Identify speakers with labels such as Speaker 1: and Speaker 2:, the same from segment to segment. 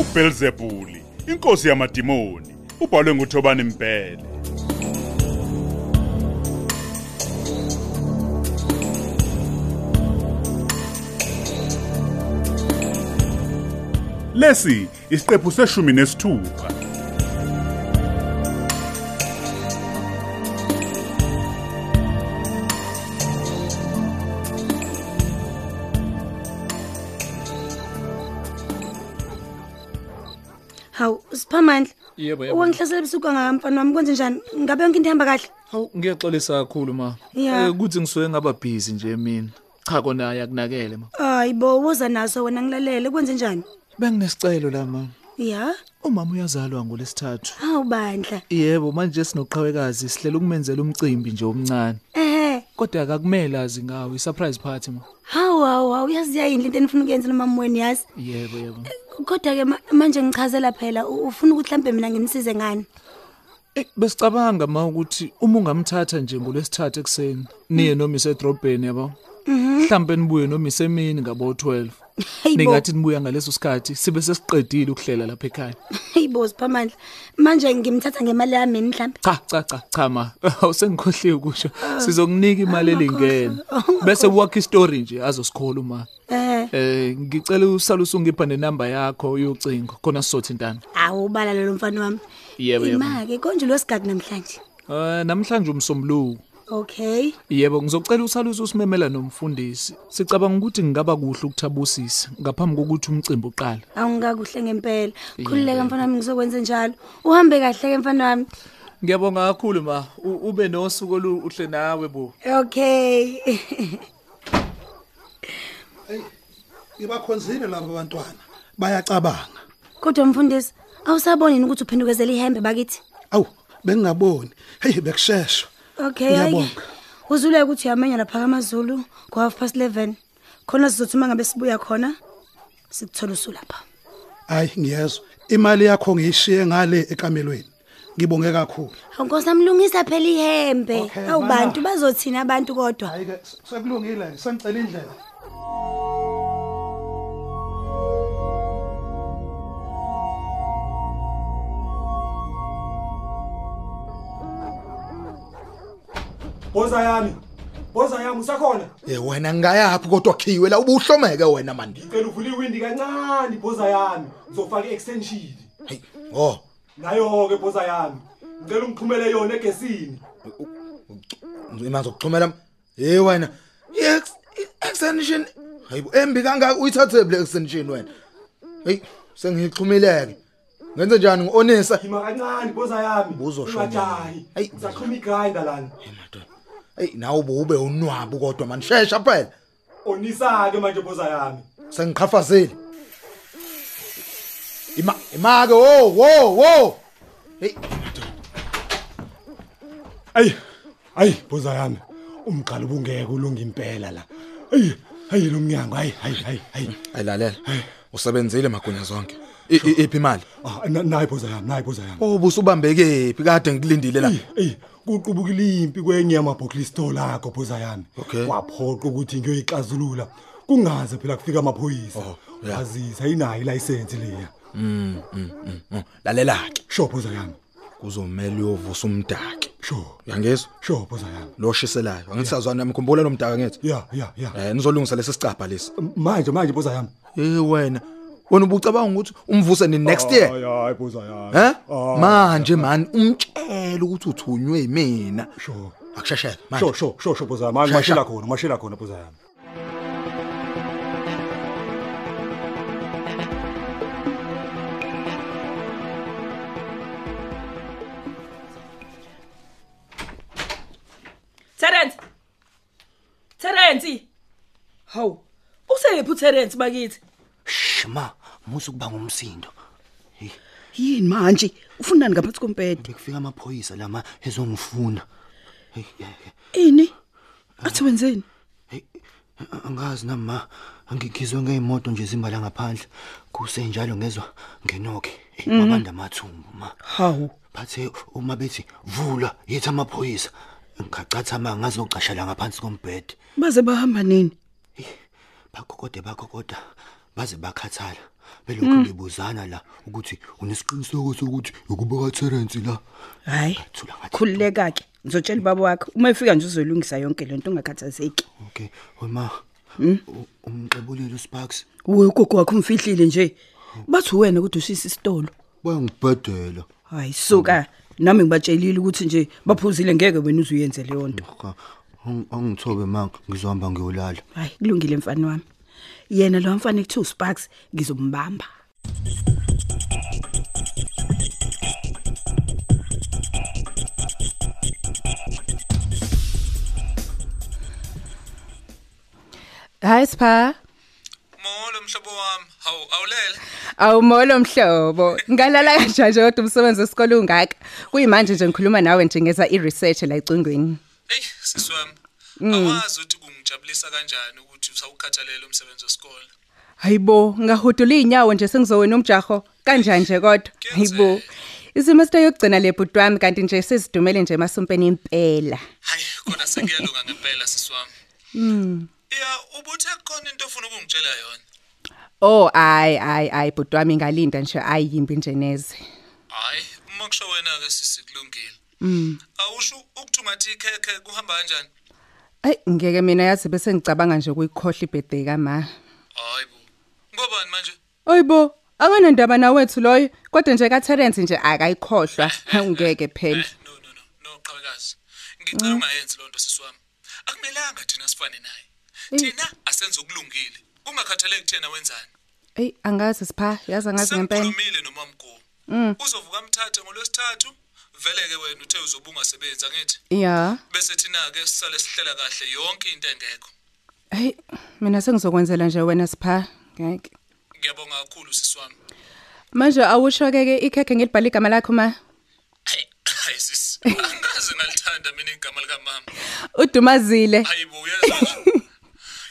Speaker 1: uBelzebuli, inkosi yamadimoni, ubhalwe nguThobani Mbhele. Lesi isiqephu seshumi nesithupha.
Speaker 2: Hawu, siphamandla.
Speaker 3: Yebo, yebo.
Speaker 2: Ungihlasela ebusuku ngaka mfana wami kwenze njani? Ngabe yonke into ihamba kahle?
Speaker 3: Hawu ngiyaxolisa kakhulu ma.
Speaker 2: Ya.
Speaker 3: Eh, kuthi ngisuke ngaba busy nje mina. Cha kona ayakunakele ma.
Speaker 2: Hayi bo, woza naso wena ngilalele kwenze njani?
Speaker 3: Benginesicelo la ma.
Speaker 2: Ya.
Speaker 3: Umama uyazalwa ngolesithathu.
Speaker 2: Hawu bandla.
Speaker 3: Yebo, manje sinoqhawekazi sihlela ukumenzela umcimbi nje omncane.
Speaker 2: Ehhe.
Speaker 3: Kodwa akakumele azi ngawe i-surprise party ma.
Speaker 2: Hawu hawu hawu yazi yayini into enifuna ukuyenza nomama wenu yazi.
Speaker 3: Yebo, yebo.
Speaker 2: Kodwa ke manje ngichazela phela u- ufuna ukuthi mhlambe mina ngimsize ngani?
Speaker 3: Eh besicabanga ma ukuthi uma ungamthatha nje ngolesithathu ekseni niye nomise edrobheni yabo. Mhlambe nibuye nomise emini ngabo 12.
Speaker 2: Hey bo.
Speaker 3: Ningathi nibuya ngaleso sikhathi sibe sesiqedile ukuhlela lapha ekhaya.
Speaker 2: Hey bo siphamandla. Manje ngimthatha ngemali yami yini mhlambe?
Speaker 3: cha cha cha cha ma awusengikhohliwe kusho sizokunika imali elingene bese wakha istory nje azosikhola uma
Speaker 2: Eh.
Speaker 3: eh ngicela usaluse ungipha nenamba yakho yocingo khona sizothintana
Speaker 2: Awu bala lo mfana wami.
Speaker 3: Yebo, yebo.
Speaker 2: Imake konje lo sigadi namhlanje.
Speaker 3: eh namhlanje umsombuluko
Speaker 2: Okay.
Speaker 3: yebo ngizocela usaluse usimemela nomfundisi sicabanga ukuthi ngingaba kuhle ukuthabusisa ngaphambi kokuthi umcimbi uqale
Speaker 2: Awungakakuhle ngempela. Khulileka mfana wami ngizokwenza njalo. Uhambe kahle ke mfana wami.
Speaker 3: ngiyabonga kakhulu ma U- ube nosuku oluhle nawe bo
Speaker 2: Okay.
Speaker 4: Ibakhonzile laba abantwana bayacabanga.
Speaker 2: Kodwa mfundisi, awusaboni yini ukuthi uphendukezele ihembe bakithi?
Speaker 4: Awu bengingaboni. Hey bekusheshsha.
Speaker 2: Okay, hayi.
Speaker 4: Ngiyabonga.
Speaker 2: Uzuleke ukuthi uyamenya lapha kaMazulu ngo half past 11. Khona sizothuma ngabe sibuya khona. Sikuthola usu lapha.
Speaker 4: Hayi ngiyezwa. Imali yakho ngiyishiye ngale ekamelweni. Ngibonge kakhulu.
Speaker 2: Awunkosi amlungisa phela ihembe.
Speaker 4: Okay,
Speaker 2: Awubantu
Speaker 4: mama.
Speaker 2: bazothina abantu kodwa.
Speaker 4: Hayi ke sekulungile sengicela indlela.
Speaker 5: Boza yami. Boza yami usakhona?
Speaker 6: Eh wena ngayaphi kodwa khiwe la ubuhlomeke wena manje.
Speaker 5: Ngicela uvule iwindi kancane boza yami. Ngizofaka i-extension.
Speaker 6: Hey, oh,
Speaker 5: Nayo ke boza yami. Ngicela ungixhumele yona egesini.
Speaker 6: imanje ukuxhumela. Hey wena, i-ex- i-extension. Hayibo embi kangaka uyithathe le extension wena. Hey, sengixhumileke. Ngenze njani ngonisa?
Speaker 5: Yima kancane boza yami.
Speaker 6: Uzoshona.
Speaker 5: Ungajahi.
Speaker 6: Hayi.
Speaker 5: Ngizaxhuma igrinder lana.
Speaker 6: Hey, nawe ube unwabu kodwa manje shesha phela.
Speaker 5: Onisa ke manje boza yami.
Speaker 6: Sengiqhafazile. Ima imake wo wo wo. Hey,
Speaker 5: Ayi. Ayi boza yami. Umqala ubungeke ulunga impela la. Ayi. Hayi lo mnyango hayi hayi hayi hayi.
Speaker 6: ayilalela. Usebenzile magunya zonke. I- i- Iphi imali?
Speaker 5: Ah na- nayi boza yami, nayi boza yami.
Speaker 6: Ubusubambeke phi kade ngikulindile la.
Speaker 5: Ey, kuqubukile impi kwenye yamabhokli store lakho boza yami.
Speaker 6: Okay.
Speaker 5: Waphoqa ukuthi ngiyoyixazulula. Kungaze phela kufika amaphoyisa.
Speaker 6: Oh, yeah.
Speaker 5: Azisa inayo license leya.
Speaker 6: Lalela ke.
Speaker 5: Sho boza yami.
Speaker 6: kuzomela uyovusa umdaki
Speaker 5: Sho.
Speaker 6: yangezwa
Speaker 5: Sho boza yami.
Speaker 6: lo shiselayo angisazwana namkhumbula lo mdaka ngithi
Speaker 5: Yeah, yeah, yeah.
Speaker 6: eh nizolungisa lesi sicapha lesi
Speaker 5: Manje manje boza yami.
Speaker 6: eh wena wena ubucabanga ukuthi umvuse ni next year
Speaker 5: Hayi boza yami.
Speaker 6: eh
Speaker 5: Ah,
Speaker 6: manje man umtshela ukuthi uthunywe yimina
Speaker 5: Sho.
Speaker 6: akusheshele
Speaker 5: Sho
Speaker 6: manje
Speaker 5: sho sho sho boza yami.
Speaker 6: Sha,
Speaker 5: Mashila
Speaker 6: sha.
Speaker 5: khona, mashila khona boza yami.
Speaker 7: Terence. Terence. Haw. Usephi uTerence bakithi?
Speaker 8: Shma, musu kuba ngumsindo. Yini manje? Ufunani ngaphansi kompede?
Speaker 9: bekufika amaphoyisa lama ezongifuna Hey, hey, hey.
Speaker 8: Ini? Athi wenzeni?
Speaker 9: A- angazi nami ma ngigizwe ngeyimoto nje zimbala ngaphandle kusenjalo ngezwa ngenokhe Eh, babanda amathumbu ma
Speaker 8: Hawu.
Speaker 9: bathe uma bethi vula yithi amaphoyisa ngigaqathama ngazocashala ngaphansi kombhede
Speaker 8: Baze bahamba nini?
Speaker 9: bakhokoda bakhokoda baze bakhathala
Speaker 6: belokhu ngibuzana la ukuthi unesiqiniseko sokuthi ukuba kaTerence la
Speaker 10: hayi khululeka-ke ngizotshela ubaba wakho uma efika nje uzolungisa yonke lento ungakhathazeki
Speaker 6: okay
Speaker 9: oh,
Speaker 6: wema umxebulile uSparks
Speaker 10: uwe ugogo wakho umfihlile nje bathi wena ukuthi ushisa isitolo
Speaker 6: bayangibhedela
Speaker 10: hayi suka nami ngibatshelile ukuthi nje baphuzile ngeke wena uze uyenze leyo nto
Speaker 6: Cha, ang- angithobe ma ngizohamba ngiyolala
Speaker 10: hayi kulungile mfana wami yena lo mfana ekuthiwa usparks ngizombamba
Speaker 11: Hayi sipha. Awumolo mhlobo. Ngalala kanjani nje kodwa umsebenzi wesikole ungaka? Kuyimanje nje ngikhuluma nawe nje ngeza i-research la icingweni.
Speaker 3: Ey, sisi wami.
Speaker 11: Mm.
Speaker 3: Awazi ukuthi kungijabulisa kanjani ukuthi usawukhathalela umsebenzi wesikole.
Speaker 11: Hayibo, ngahudula izinyawo nje sengizowena umjaho kanjani nje kodwa. Hayibo. Isemester yokugcina lebhuti wami kanti nje sizidumele nje masumpeni impela.
Speaker 3: Hayi, kodwa sekuyalunga ngempela sisi wami.
Speaker 11: Mm.
Speaker 3: Ya, ubuthe khona into ofuna ukungitshela yona.
Speaker 11: Oh ay ay ay bhuti wami ngalinda nje ayimbi nje neze.
Speaker 3: Hayi, uma kusho wena ke sisi kulungile.
Speaker 11: Mm.
Speaker 3: Awusho ukuthi ungathi ikhekhe kuhamba kanjani?
Speaker 11: Ay ngeke mina yazi bese ngicabanga nje ukuyikhohle ibhede kama.
Speaker 3: Hayibo. Ngobani manje?
Speaker 11: Oyibo, akanandaba nawethu loyo, kodwa nje kaTerence nje akayikhohlwa, ngeke phela.
Speaker 3: Noqhawekazi.
Speaker 6: Hmm?
Speaker 3: Ngicela ungayenzi lonto sisi wami. Akumelanga thina sifane naye.
Speaker 11: Mm.
Speaker 3: Thina asenze ukulungile. Kungakhathaleki thina wenzani.
Speaker 11: Ey, angazi sipha, yazi angazi ngempela.
Speaker 3: Ngikhulumile nomamkhulu.
Speaker 11: Mm.
Speaker 3: Uzovuka umthathe ngolwesithathu. Vele ke wena uthe uzobunga sebenza ngithi.
Speaker 11: Yeah.
Speaker 3: Bese thina ke sisale sihlela kahle yonke into engekho.
Speaker 11: Hey, mina sengizokwenzela nje wena sipha. Ngeke.
Speaker 3: Ngiyabonga kakhulu sisi wami.
Speaker 11: Manje awusho ke ke ikhekhe ngilibhala igama lakho ma.
Speaker 3: Hayi sisi. Angaze ngalithanda mina igama lika mama.
Speaker 11: Udumazile.
Speaker 3: Hayibo uyezwa nje.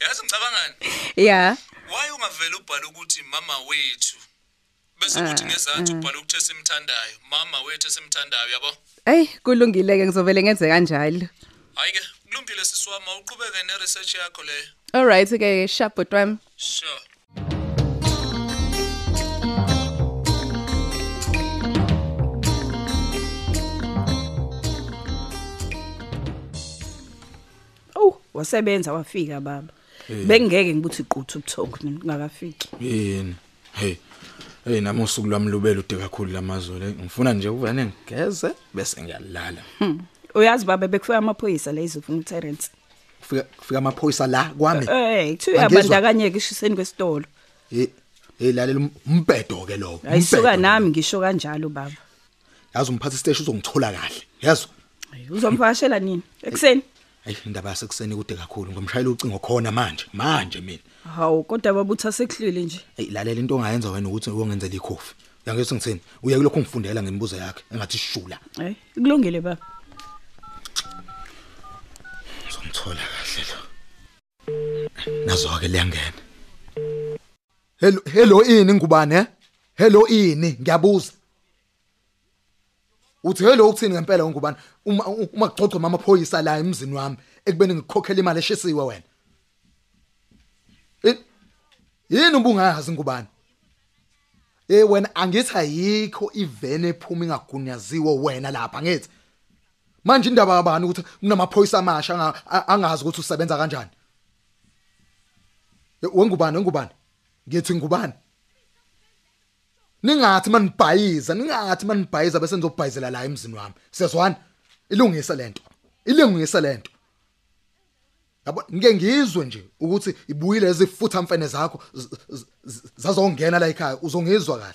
Speaker 3: Yazi ngicabangani?
Speaker 11: Yeah.
Speaker 3: Why ungavela ubhala ukuthi mama wethu? Bese kuthi
Speaker 11: Ah,
Speaker 3: ngezansi
Speaker 12: mm.
Speaker 11: ah.
Speaker 3: ubhala ukuthi esimthandayo. Mama wethu esimthandayo yabo.
Speaker 11: Ey, kulungile ke ngizovele ngenze kanjalo.
Speaker 3: Hayi ke kulungile sisi wami uqhubeke ne research yakho leyo.
Speaker 11: All right ke sharp bhuti wami.
Speaker 3: Sure.
Speaker 10: owu Oh, wasebenza wafika baba
Speaker 9: Eh.
Speaker 10: bengingeke ngibuthi quthu ubuthongo mina ngakafiki
Speaker 9: yini hey hey nami usuku lwami lubele ude kakhulu lamazolo hey. ngifuna nje ukuvane ngigeze bese ngiyalala
Speaker 10: Hmm. uyazi baba bekufika amaphoyisa la izofuna uterence
Speaker 6: kufika kufika amaphoyisa la kwami
Speaker 11: Eh.
Speaker 10: um kuthiwa
Speaker 6: Angizwa.
Speaker 10: uyabandakanyeka eshiseni kwesitolo
Speaker 6: hey hey lalela um- umbedo ke lo
Speaker 10: ayisuka nami ngisho kanjalo baba
Speaker 6: yazi umphathi steshi uzongithola kahle yazi
Speaker 10: uzomvakashela nini ekuseni
Speaker 6: Hayi indaba yasekuseni kude kakhulu ngomshayela ucingo khona manje manje mina
Speaker 10: hawu kodwa baba uthi asekuhlwile nje
Speaker 6: hey lalela into ongayenza wena ukuthi uyongenzela ikhofi yangethi ngithini uya kulokho ngifundela ngemibuzo yakhe engathi shula
Speaker 10: hayi kulungile baba
Speaker 6: ngizomthola kahle lo nazo ke liyangena hello hello ini ngubane hello ini ngiyabuza uthi hello uthini ngempela ngubane uma uma kuxoxa mama phoyisa la emzini wami ekubeni ngikhokhela imali eshisiwe wena Eh, yini ubungazi ngubane Eh wena angithi ayikho ivene ephuma ingagunyaziwe wena lapha ngithi manje indaba yabani ukuthi kunamaphoyisa amasha anga- a- angazi ukuthi usebenza kanjani Eh, wengubani wengubani ngithi ngubani ningathi manibhayiza ningathi manibhayiza bese nizobhayizela la emzini wami siyazwana ilungise lento ilungise lento yabo ngike ngizwe nje ukuthi ibuyile ezifutha mfene zakho z- z- z- zazongena la ekhaya uzongizwa kahle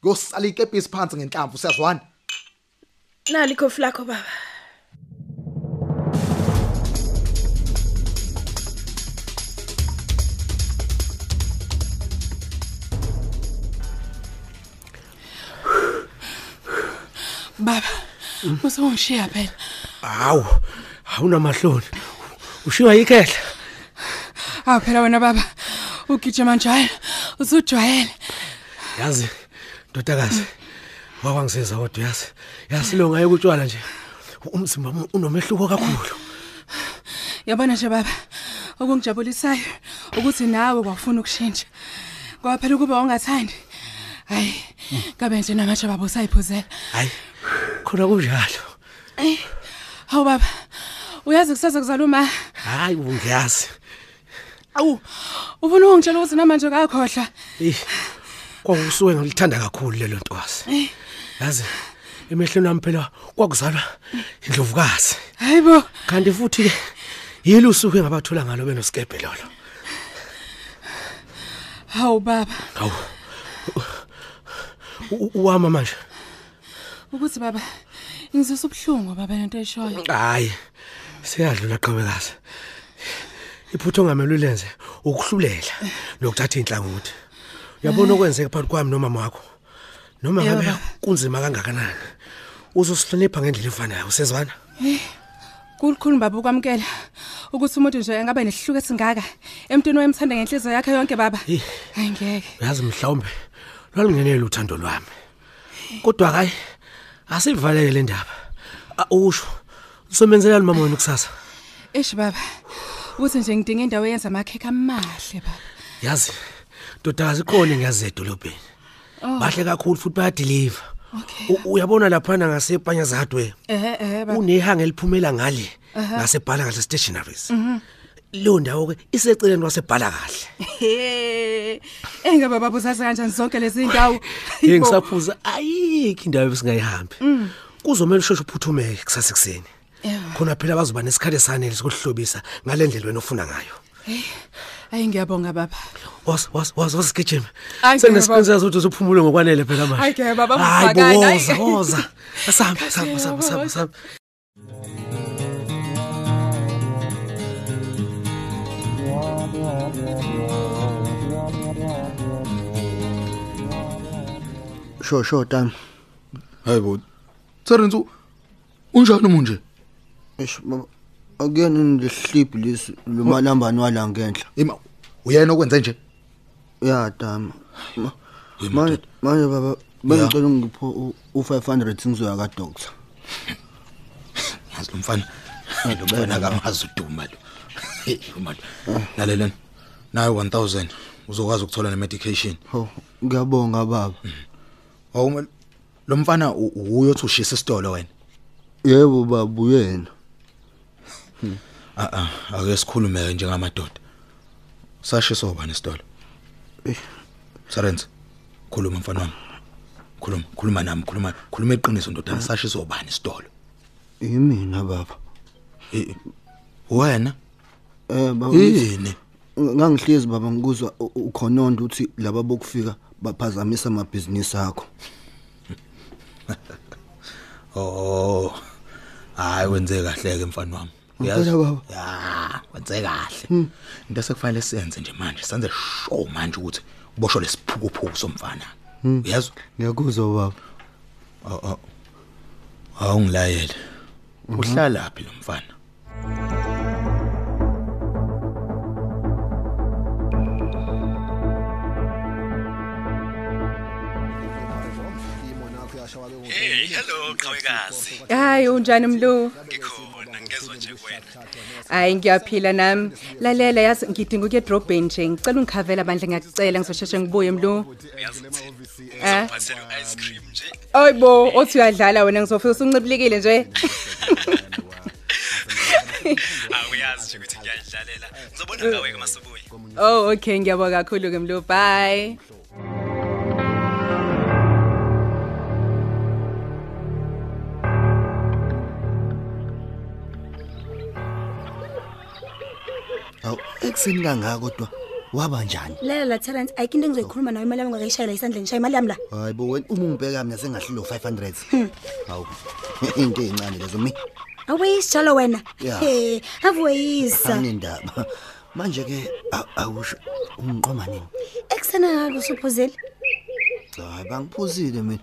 Speaker 6: kuyosala ikepisi phansi ngenhlamvu siyazwana
Speaker 10: nali ikhofi lakho baba
Speaker 13: Baba, usongishiya phela.
Speaker 12: hawu awunamahloni ushiywa yikhehla
Speaker 13: Awu phela wena baba. Ugijima njalo. Usujwayele.
Speaker 12: yazi ndodakazi wakwangisenza kodwa yazi yazi lo ngaye kutshwala nje umzimba wami unomehluko kakhulu
Speaker 13: Yabona nje baba, okungijabulisayo ukuthi nawe kwafuna ukushintsha. Ngoba phela ukuba ungathandi. Hayi, kabe nje namathe babo usayiphuzela.
Speaker 12: Hayi. Khona kunjalo.
Speaker 13: Eh. Hawu baba. Uyazi kusasa kuzala uma.
Speaker 12: Hayi ungiyazi.
Speaker 13: Awu. Ufuna ungitshela ukuthi namanje akakhohlwa.
Speaker 12: Eh. Kwakusuke ngilithanda kakhulu lelo ntwazi. Yazi emehlweni wami phela kwakuzalwa indlovukazi.
Speaker 13: Hayibo.
Speaker 12: Kanti futhi ke yilo usuku engabathola ngalo benosikebhe lolo.
Speaker 13: Hawu baba.
Speaker 12: Hawu. Uwama manje.
Speaker 13: Ukuthi baba ngizisa ubhlungu baba lento eshoyo.
Speaker 12: Hayi. Siyadlula qhubekazi. Iphutho ngamele lenze ukuhlulela nokuthatha inhlangothi. Uyabona okwenzeka phakathi kwami nomama wakho. Noma
Speaker 10: Eh,
Speaker 13: Yebo,
Speaker 12: ngabe
Speaker 13: baba.
Speaker 12: kunzima kangakanani. Uzosihlonipha ngendlela efanayo, usezwana?
Speaker 13: Eh. Kulikhulu baba ukwamkela ukuthi umuntu nje engaba nesihluko esingaka emntwini wayemthanda ngenhliziyo yakhe yonke baba.
Speaker 12: Eh.
Speaker 13: Hayi ngeke.
Speaker 12: Uyazi mhlawumbe lwalingenele uthando lwami. Kodwa hayi asivaleke le ndaba. A- Usho usomenzela umama wenu kusasa.
Speaker 13: Eish baba. Ukuthi nje ngidinga indawo eyenza amakhekhe amahle baba.
Speaker 12: Yazi dodazi khona ngiyazi edolobheni.
Speaker 13: Oh.
Speaker 12: Bahle kakhulu futhi bayadeliver.
Speaker 13: Okay.
Speaker 12: U- Uyabona lapha ngasepanya zadwe.
Speaker 13: Eh eh baba.
Speaker 12: Unehanga eliphumela ngale
Speaker 13: Aha.
Speaker 12: ngasebhala kahle stationaries.
Speaker 13: Mhm.
Speaker 12: Lo ndawo ke iseceleni wasebhala kahle.
Speaker 13: Hey.
Speaker 10: Eh,
Speaker 13: Engaba baba uzazi kanjani zonke lezi ndawo?
Speaker 12: Ngisaphuza ayikho indawo esingayihambi.
Speaker 13: Mm.
Speaker 12: Kuzomela ushoshe uphuthume kusasa ekseni. Khona phela bazoba nesikhathe sanele sokuhlobisa ngalendlela wena ofuna ngayo.
Speaker 13: Hey. Hayi ngiyabonga baba.
Speaker 12: Was was was wasigijima.
Speaker 13: Ayi,
Speaker 12: Senginesiqiniseko sokuthi uzophumula ngokwanele phela manje.
Speaker 13: Hayi ke baba
Speaker 12: Hayi
Speaker 13: ufakana.
Speaker 12: boza boza. Asamba asamba asamba asamba asamba.
Speaker 9: sho sho tam hayibo Terence u- unjani umunje
Speaker 14: Eish baba akuyena ngihliphi lesi loma nambani wala ngenhla.
Speaker 9: Ima uyena okwenze nje?
Speaker 14: Ya dama. Ma- Manje manje baba bengicela ungipho u- u500 ngizoya ka doctor.
Speaker 9: yazi lo mfana lo mfana akamazi uduma lo Hey, uma lo lalelani nayo 1000 uzokwazi ukuthola ne medication
Speaker 14: Ho ngiyabonga baba.
Speaker 9: Hawu lo mfana u- uyo uthi ushisa isitolo wena
Speaker 14: Yebo baba uyena.
Speaker 9: a a ake sikhulume ke njengamadoda sashiso ubani isitolo Terence khuluma mfana wami khuluma khuluma nami khuluma khuluma iqiniso ndoda sashiso ubani isitolo
Speaker 14: Yimina baba.
Speaker 9: Eh, wena?
Speaker 14: Eh baba.
Speaker 9: Yini?
Speaker 14: Ngangihlezi baba ngikuzwa u- u- ukhononda uthi laba bokufika baphazamisa amabhizinisi akho.
Speaker 9: Oh. Hayi wenze kahle ke mfana wami. Uyazi?
Speaker 14: Ngempela, baba. Hmm.
Speaker 9: Ya, wenze kahle. Into sekufanele senze nje manje, senze show manje ukuthi uboshwe lesiphukuphuku somfana.
Speaker 14: Hmm.
Speaker 9: Uyazi?
Speaker 14: Ngiyakuzwa baba.
Speaker 9: Oh oh. Awungilayele.
Speaker 14: Mhm.
Speaker 9: Uhlala phi lo mfana?
Speaker 15: Hey, hello qhawekazi.
Speaker 11: Hayi unjani Mlu?
Speaker 15: Ngikhona ngezwe nje kuwena.
Speaker 11: Hayi ngiyaphila nami. Lalela yazi ngidinga ukuye drobheni nje. Ngicela ungikhavela bandle ngiyakucela ngizosheshe ngibuye Mlu. Eh?
Speaker 15: Ngizophathela ice cream nje.
Speaker 11: Ayibo, othi uyadlala wena ngizofika usunqiblikile nje.
Speaker 15: Awuyazi nje ukuthi ngiyadlalela. Ngizobona ngawe ke masubuya.
Speaker 11: Oh okay ngiyabonga kakhulu ke Mlu. Bye.
Speaker 14: Aw ekseni kangaka kodwa waba njani?
Speaker 2: lela la talent ayikho into engizoyikhuluma nayo imali yami ngakayishayela isandleni shaya imali yami la
Speaker 14: Hayibo wena uma ungibheka mina sengahlilo 500. Hawu. Into encane lezo mina.
Speaker 2: awuyisijalo wena
Speaker 14: Ya.
Speaker 2: He, ave uyisa
Speaker 14: Anindaba. Manje ke a- awusho ungiqoma nini?
Speaker 2: ekusena ngako usuphuzile
Speaker 14: Hayi bangiphuzile mina.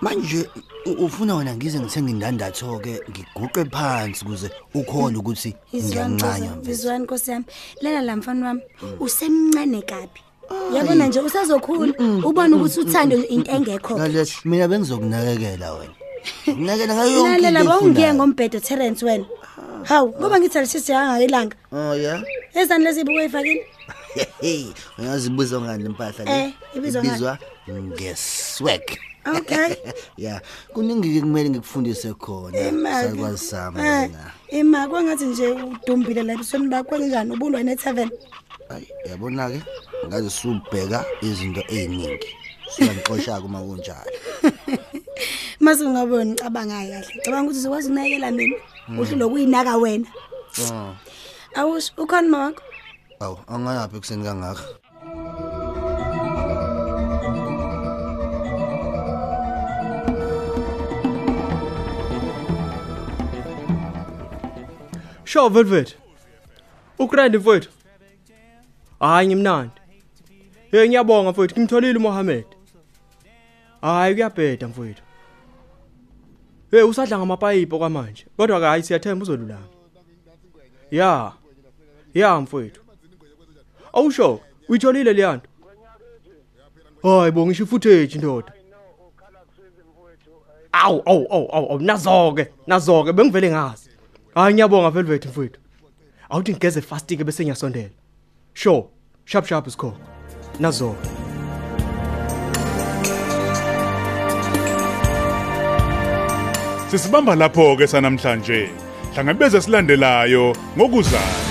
Speaker 14: Manje u- ufuna wena ngize ngithenga indandatho ke ngiguqe phansi kuze ukhole ukuthi
Speaker 2: Izwani,
Speaker 14: ngiyancanywa.
Speaker 2: Nkosi- izwani nkosi yami lela la mfana wami usemncane kabi yabona nje usazokhula ubone ukuthi uthande into engekho
Speaker 14: Lalela mina bengizokunakekela wena. Nginakekela ngayo yonke into.
Speaker 2: lalela
Speaker 14: oyifunayo.
Speaker 2: bawungiye ngombhedo terence wena hawu ngoba ngithi alisisi yangakelanga
Speaker 14: Oh yeah.
Speaker 2: ezani lezi buku eyifakile
Speaker 14: Hey, uyazi ibizwa ngani impahla
Speaker 2: Eh, ibizwa ngani?
Speaker 14: ngeswag.
Speaker 2: Okay.
Speaker 14: yeah, kuningi ke kumele ngikufundise khona.
Speaker 2: Ima-ke.
Speaker 14: Sakwazi sama
Speaker 2: Eh,
Speaker 14: lana.
Speaker 2: ima kwangathi nje udumbile la ebusweni bakho kanjani ubulwa ne-tavern
Speaker 14: Yabona ke, ngaze subheka izinto eziningi. Siyangixosha kuma kunjalo.
Speaker 2: mase ungaboni ucabangayo kahle cabanga ukuthi uzokwazi ukunakekela mina
Speaker 14: Mm.
Speaker 2: uhle lokuyinaka wena
Speaker 14: Mm.
Speaker 2: awusho ukhona uma wakho
Speaker 14: Aw, angayaphi ekseni kangaka.
Speaker 16: Sho Velvet. Ukrandi mfowethu. Hayi ngimnandi. Hey ngiyabonga mfowethu, ngimtholile uMohammed. Hayi kuyabheda mfowethu. Hey usadla ngamapayipo kwamanje, kodwa ke hayi siyathemba uzolulama. Ya. Ya mfowethu. Awusho, uyitholile le yanto. Hayi bo ngisho footage ndoda. Aw aw aw aw aw nazoke, nazoke bengivele ngazi. Hayi ngiyabonga Velvet mfowethu. Awuthi ngigeze fast ke bese ngiyasondela. Sure, sharp sharp isikho. Nazo.
Speaker 1: Sisibamba lapho ke sanamhlanje. Hlangabeze silandelayo ngokuzayo.